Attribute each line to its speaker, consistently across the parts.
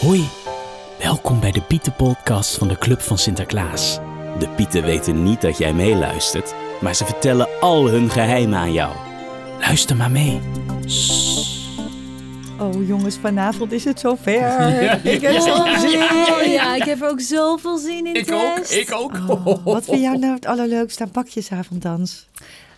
Speaker 1: Hoi, welkom bij de Pietenpodcast van de Club van Sinterklaas. De Pieten weten niet dat jij meeluistert, maar ze vertellen al hun geheimen aan jou. Luister maar mee.
Speaker 2: Oh jongens, vanavond is het zover. Ik heb
Speaker 3: Ja,
Speaker 2: zo'n zin.
Speaker 3: ja, ja, ik heb ook zoveel zin in
Speaker 4: Ik ook,
Speaker 3: test.
Speaker 4: ik ook.
Speaker 2: Wat vind jij nou het allerleukste aan pakjesavonddans?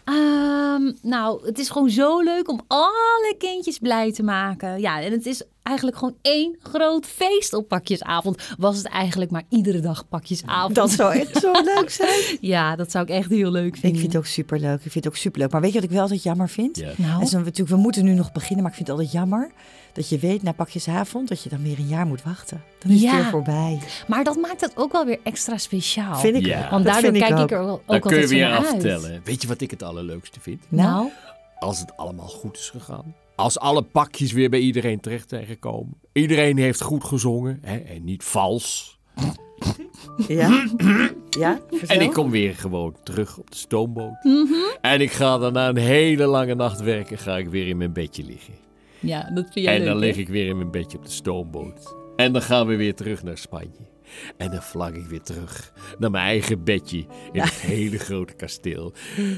Speaker 3: Ehm, nou, het is gewoon zo leuk om alle kindjes blij te maken. Ja, en het is eigenlijk gewoon één groot feest op pakjesavond. Was het eigenlijk maar iedere dag pakjesavond.
Speaker 2: Dat zou echt zo leuk zijn.
Speaker 3: Ja, dat zou ik echt heel leuk
Speaker 2: Ik
Speaker 3: vinden.
Speaker 2: vind het ook superleuk. Ik vind het ook superleuk. Maar weet je wat ik wel altijd jammer vind?
Speaker 4: Ja.
Speaker 3: Nou?
Speaker 2: En zo, natuurlijk, we moeten nu nog beginnen, maar ik vind het altijd jammer dat je weet na pakjesavond dat je dan weer een jaar moet wachten. Dan is het
Speaker 3: Ja.
Speaker 2: weer voorbij.
Speaker 3: Maar dat maakt het ook wel weer extra speciaal.
Speaker 2: Vind ik.
Speaker 4: Ja.
Speaker 3: Want
Speaker 2: dat
Speaker 3: daardoor
Speaker 2: vind ik
Speaker 3: kijk
Speaker 2: ook.
Speaker 3: ik er wel- ook
Speaker 4: Dan
Speaker 3: altijd
Speaker 4: kun je weer
Speaker 3: zo naar uit.
Speaker 4: aftellen. Weet je wat ik het allerleukste vind?
Speaker 2: Nou,
Speaker 3: Nou,
Speaker 4: Als het allemaal goed is gegaan. Als alle pakjes weer bij iedereen terecht zijn gekomen. Iedereen heeft goed gezongen hè, en niet vals.
Speaker 2: ja. ja vertel.
Speaker 4: En ik kom weer gewoon terug op de stoomboot. En ik ga dan na een hele lange nacht werken, ga ik weer in mijn bedje liggen.
Speaker 3: ja, dat vind jij
Speaker 4: en
Speaker 3: leuk,
Speaker 4: dan
Speaker 3: hè?
Speaker 4: lig ik weer in mijn bedje op de stoomboot. En dan gaan we weer terug naar Spanje. En dan vlag ik weer terug naar mijn eigen bedje in het hele grote kasteel.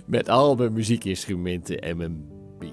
Speaker 4: Met al mijn muziekinstrumenten en mijn bier.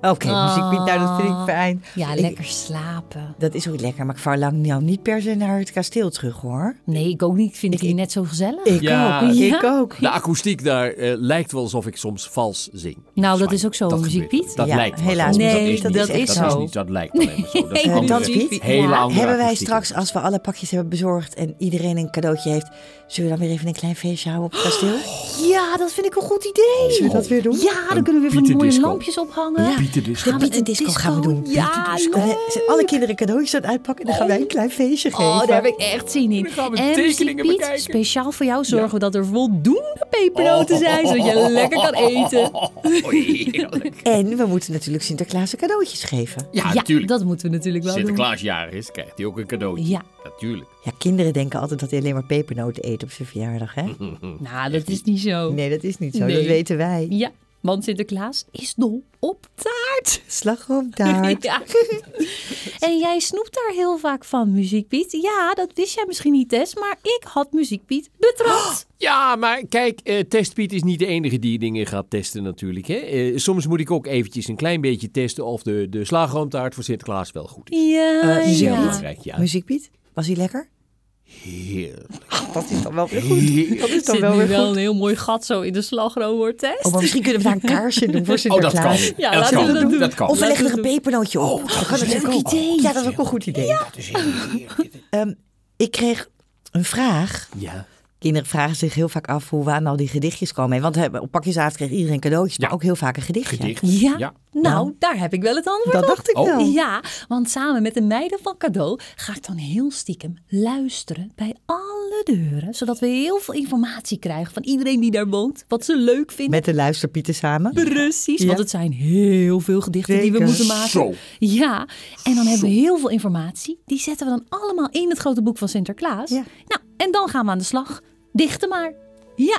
Speaker 2: Oké, muziek biedt nou, dat vind ik fijn.
Speaker 3: Ja,
Speaker 2: Ik-
Speaker 3: lekker slapen.
Speaker 2: dat is ook lekker, maar ik vaar lang nou niet per se naar het kasteel terug hoor.
Speaker 3: Nee, ik ook niet. Ik vind die net zo gezellig.
Speaker 2: Ik
Speaker 4: Ja.
Speaker 2: ook,
Speaker 3: Ja.
Speaker 2: ik ook.
Speaker 4: De akoestiek daar eh, lijkt wel alsof ik soms vals zing. in
Speaker 3: Nou, dat
Speaker 4: Spanje.
Speaker 3: is ook zo, muziek,
Speaker 4: gebeurt.
Speaker 3: Piet.
Speaker 4: Dat
Speaker 2: Ja,
Speaker 4: lijkt wel
Speaker 2: helaas,
Speaker 4: zo, maar
Speaker 3: Nee,
Speaker 4: niet
Speaker 3: dat is
Speaker 4: Dat,
Speaker 3: zo.
Speaker 4: niet, dat lijkt alleen maar zo. Dat is
Speaker 3: Nee,
Speaker 4: andere-
Speaker 2: dat is Piet.
Speaker 4: Hele
Speaker 3: Ja.
Speaker 4: andere
Speaker 2: Hebben wij
Speaker 4: akoestieken.
Speaker 2: straks, als we alle pakjes hebben bezorgd en iedereen een cadeautje heeft, zullen we dan weer even een klein feestje houden op het kasteel?
Speaker 3: Ja, dat vind Oh, ik een goed idee. Oh.
Speaker 2: Zullen we dat weer doen?
Speaker 3: Ja, dan kunnen we weer van die mooie
Speaker 4: pietendisco.
Speaker 3: lampjes ophangen.
Speaker 2: Ja.
Speaker 4: Pietendisco.
Speaker 3: Gaan we
Speaker 2: Een
Speaker 3: een
Speaker 2: disco gaan we doen.
Speaker 3: Ja,
Speaker 2: Pietendisco.
Speaker 3: leuk.
Speaker 2: Dan zijn Eh, alle kinderen cadeautjes aan het uitpakken en dan gaan wij een klein feestje geven.
Speaker 3: Oh, daar heb ik echt zin in.
Speaker 4: Dan gaan we
Speaker 3: en
Speaker 4: tekeningen
Speaker 3: Piet,
Speaker 4: bekijken.
Speaker 3: speciaal voor jou zorgen we dat er voldoende pepernoten zijn,
Speaker 2: Oh.
Speaker 3: zodat je lekker kan eten.
Speaker 4: Oh, heerlijk.
Speaker 2: En we moeten natuurlijk Sinterklaas een cadeautjes geven.
Speaker 4: Ja, natuurlijk.
Speaker 3: dat moeten we natuurlijk wel doen.
Speaker 4: Sinterklaas jarig is, krijgt hij ook een cadeautje.
Speaker 3: Ja.
Speaker 4: Natuurlijk.
Speaker 2: Ja, kinderen denken altijd dat hij alleen maar pepernoten eet op zijn verjaardag, hè?
Speaker 3: Nou, dat is niet zo.
Speaker 2: Nee, dat is niet zo. Dat
Speaker 3: Nee.
Speaker 2: weten wij.
Speaker 3: Ja, want Sinterklaas is dol op taart.
Speaker 2: Slagroomtaart.
Speaker 3: Ja. En jij snoept daar heel vaak van, muziekpiet. Ja, dat wist jij misschien niet, Tess, maar ik had muziekpiet betrapt.
Speaker 4: Ja, maar kijk, eh, Testpiet is niet de enige die dingen gaat testen natuurlijk. Hè? Eh, soms moet ik ook eventjes een klein beetje testen of de, de slagroomtaart voor Sinterklaas wel goed is.
Speaker 3: Ja,
Speaker 2: Eh,
Speaker 4: Heel
Speaker 2: ja.
Speaker 4: belangrijk, ja.
Speaker 2: Muziek, Piet? Was hij lekker?
Speaker 4: Heerlijk.
Speaker 2: Dat is dan wel weer goed. Dat is
Speaker 3: Zit nu wel een heel mooi gat zo in de slagroom, hoor, Tess.
Speaker 2: Oh, maar misschien kunnen we daar een kaarsje doen voor
Speaker 4: Oh, dat
Speaker 2: Sinterklaas.
Speaker 4: kan.
Speaker 3: Ja,
Speaker 4: dat,
Speaker 3: laten
Speaker 4: kan.
Speaker 3: we dat doen.
Speaker 4: dat kan.
Speaker 2: Of we
Speaker 3: Laten
Speaker 2: leggen
Speaker 3: we
Speaker 2: er een
Speaker 3: doen.
Speaker 2: pepernootje op. Oh, dat kan natuurlijk
Speaker 3: leuk
Speaker 2: ook.
Speaker 3: idee.
Speaker 2: Ja, dat is ook een goed idee. Ehm, ik kreeg een vraag.
Speaker 4: Ja.
Speaker 2: Kinderen vragen zich heel vaak af hoe we aan al die gedichtjes komen. hè? Want hè, op pakjesavond kreeg iedereen cadeautjes, maar
Speaker 4: Ja.
Speaker 2: ook heel vaak een gedichtje.
Speaker 4: Gedicht.
Speaker 3: Ja,
Speaker 4: Ja.
Speaker 3: nou, daar heb ik wel het antwoord
Speaker 2: Dat
Speaker 3: op.
Speaker 2: dacht ik
Speaker 4: Oh.
Speaker 2: wel.
Speaker 3: Ja, want samen met de meiden van cadeau ga ik dan heel stiekem luisteren bij alle deuren. Zodat we heel veel informatie krijgen van iedereen die daar woont. Wat ze leuk vinden.
Speaker 2: Met de luisterpieten samen.
Speaker 3: Precies,
Speaker 2: Ja.
Speaker 3: want het zijn heel veel gedichten die we
Speaker 2: Zeker.
Speaker 3: moeten maken.
Speaker 4: Zo.
Speaker 3: Ja, en dan hebben we heel veel informatie. Die zetten we dan allemaal in het grote boek van Sinterklaas.
Speaker 2: Ja.
Speaker 3: Nou, en dan gaan we aan de slag. Dichten maar. Ja.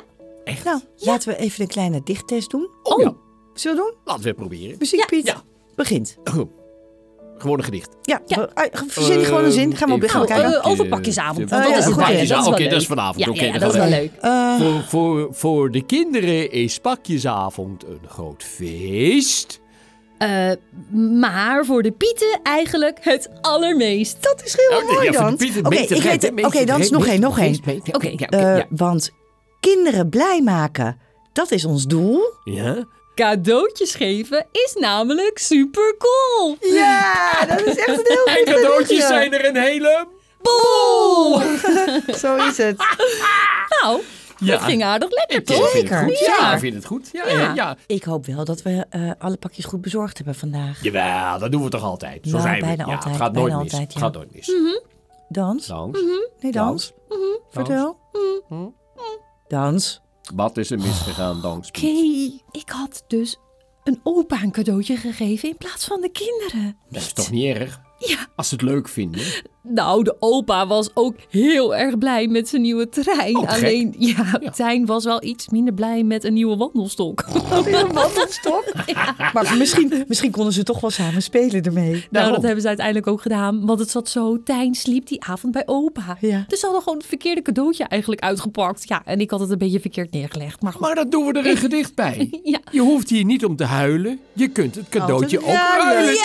Speaker 2: Nou, laten we even een kleine dichttest doen.
Speaker 4: Oh, ja.
Speaker 2: Zullen we doen?
Speaker 4: Laten we het proberen.
Speaker 2: Muziek, Piet.
Speaker 4: Ja.
Speaker 2: Begint.
Speaker 4: Gewoon een gedicht. Eh,
Speaker 2: Ja, Oh, we- ah, verzin gewoon een zin. Gaan we op
Speaker 4: Even
Speaker 2: gaan we
Speaker 3: Nou,
Speaker 2: kijken.
Speaker 3: eh, over pakjesavond.
Speaker 4: Eh,
Speaker 3: dat
Speaker 2: ja,
Speaker 3: is het
Speaker 2: goed,
Speaker 3: wel.
Speaker 2: ja,
Speaker 3: Dat is
Speaker 4: ja,
Speaker 3: wel
Speaker 4: oké, dat
Speaker 3: leuk.
Speaker 4: is vanavond.
Speaker 3: Ja,
Speaker 4: Oké,
Speaker 3: ja,
Speaker 4: dan
Speaker 3: dat is
Speaker 4: gaan
Speaker 3: wel
Speaker 4: we-
Speaker 3: leuk.
Speaker 2: Eh,
Speaker 4: Voor, voor, voor de kinderen is pakjesavond een groot feest.
Speaker 3: Eh, maar voor de pieten eigenlijk het allermeest. Dat is heel...
Speaker 2: Heel mooi
Speaker 4: Ja, voor de
Speaker 2: dan.
Speaker 4: Pieten,
Speaker 2: Oké,
Speaker 4: meet
Speaker 2: ik
Speaker 4: terecht,
Speaker 2: weet-
Speaker 4: hè, meet
Speaker 2: oké, dan is
Speaker 4: terecht,
Speaker 2: nog
Speaker 4: meet
Speaker 2: één, nog
Speaker 4: terecht,
Speaker 2: één.
Speaker 4: meet- ja,
Speaker 3: Oké.
Speaker 4: ja,
Speaker 2: Eh,
Speaker 4: ja.
Speaker 2: Want kinderen blij maken, dat is ons doel.
Speaker 4: Ja?
Speaker 3: Cadeautjes geven is namelijk super cool.
Speaker 2: Ja, dat is echt een heel
Speaker 4: En cadeautjes zijn er een hele...
Speaker 3: Boe!
Speaker 2: Zo is het.
Speaker 3: Nou,
Speaker 4: Ja.
Speaker 3: dat ging aardig lekker,
Speaker 4: Ik
Speaker 3: toch?
Speaker 4: vind het
Speaker 2: Zeker.
Speaker 4: goed.
Speaker 3: Ja.
Speaker 4: Ja, ik vind het goed. Ja,
Speaker 3: Ja.
Speaker 4: ja. ja.
Speaker 2: Ik hoop wel dat we eh, alle pakjes goed bezorgd hebben vandaag.
Speaker 4: Jawel, dat doen we toch altijd. Zo
Speaker 2: Nou,
Speaker 4: zijn we.
Speaker 2: bijna
Speaker 4: ja,
Speaker 2: altijd,
Speaker 4: Het gaat nooit
Speaker 2: bijna
Speaker 4: mis.
Speaker 2: altijd, ja.
Speaker 4: Het gaat nooit mis.
Speaker 2: Dans?
Speaker 4: Dans.
Speaker 2: Nee, dans. Vertel. Hm. Dans.
Speaker 4: Wat is er misgegaan, Dans?
Speaker 3: Oké, ik had dus een opa een cadeautje gegeven in plaats van de kinderen.
Speaker 4: Dat is toch niet erg?
Speaker 3: Ja,
Speaker 4: Als ze het leuk vinden.
Speaker 3: Nou, de opa was ook heel erg blij met zijn nieuwe trein.
Speaker 4: Oh, gek.
Speaker 3: Alleen, ja,
Speaker 4: Ja.
Speaker 3: Tijn was wel iets minder blij met een nieuwe wandelstok.
Speaker 2: Een wandelstok? Maar misschien, misschien konden ze toch wel samen spelen ermee.
Speaker 3: Nou,
Speaker 4: Daarom.
Speaker 3: dat hebben ze uiteindelijk ook gedaan. Want het zat zo, Tijn sliep die avond bij opa.
Speaker 2: Ja.
Speaker 3: Dus ze hadden gewoon het verkeerde cadeautje eigenlijk uitgepakt. Ja, en ik had het een beetje verkeerd neergelegd. Maar goed.
Speaker 4: Maar dat doen we er een gedicht bij.
Speaker 3: Ja.
Speaker 4: Je hoeft hier niet om te huilen. Je kunt het cadeautje ook
Speaker 2: Altijd ruilen.
Speaker 4: ruilen.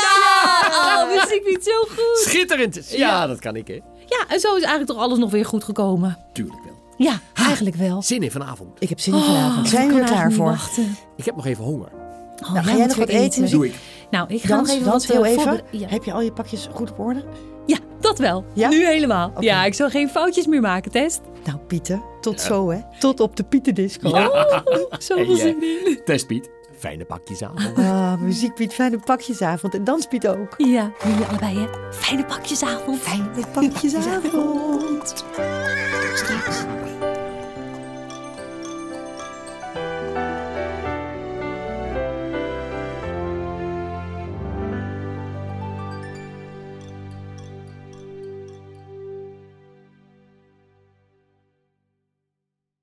Speaker 3: Oh, wist ik niet zo goed.
Speaker 4: Schitterend. Ja, dat kan ik, hè?
Speaker 3: Ja, en zo is eigenlijk toch alles nog weer goed gekomen.
Speaker 4: Tuurlijk wel.
Speaker 3: Ja, eigenlijk wel.
Speaker 4: Zin in vanavond.
Speaker 2: Ik heb zin in vanavond. Ah. Zijn
Speaker 3: Ik
Speaker 2: Oh, we
Speaker 3: kan
Speaker 2: er klaar
Speaker 3: eigenlijk
Speaker 2: voor?
Speaker 3: niet wachten.
Speaker 4: Ik heb nog even honger.
Speaker 3: Oh,
Speaker 2: Nou,
Speaker 3: jij
Speaker 2: ga jij
Speaker 3: moet
Speaker 2: nog wat
Speaker 3: weer
Speaker 2: eten?
Speaker 4: Dat doe ik.
Speaker 3: Nou, ik ga
Speaker 2: Dans,
Speaker 3: nog even
Speaker 2: dans
Speaker 3: wat
Speaker 2: heel
Speaker 3: eh,
Speaker 2: even.
Speaker 3: voorbere- Ja.
Speaker 2: Heb je al je pakjes goed op orde?
Speaker 3: Ja, dat wel.
Speaker 2: Ja?
Speaker 3: Nu helemaal.
Speaker 2: Oké.
Speaker 3: Ja, ik zal geen foutjes meer maken, Test.
Speaker 2: Nou, Pieter, tot zo hè. Tot op de Pieterdisco.
Speaker 3: Zoveel
Speaker 4: En jij?
Speaker 3: zin in.
Speaker 4: Test Piet, fijne pakjes aan.
Speaker 2: Ah, muziek Piet, fijne pakjesavond. En dans Piet ook.
Speaker 3: Ja, jullie allebei hè. Fijne pakjesavond. Fijne
Speaker 2: Pakjesavond.
Speaker 3: Tot straks.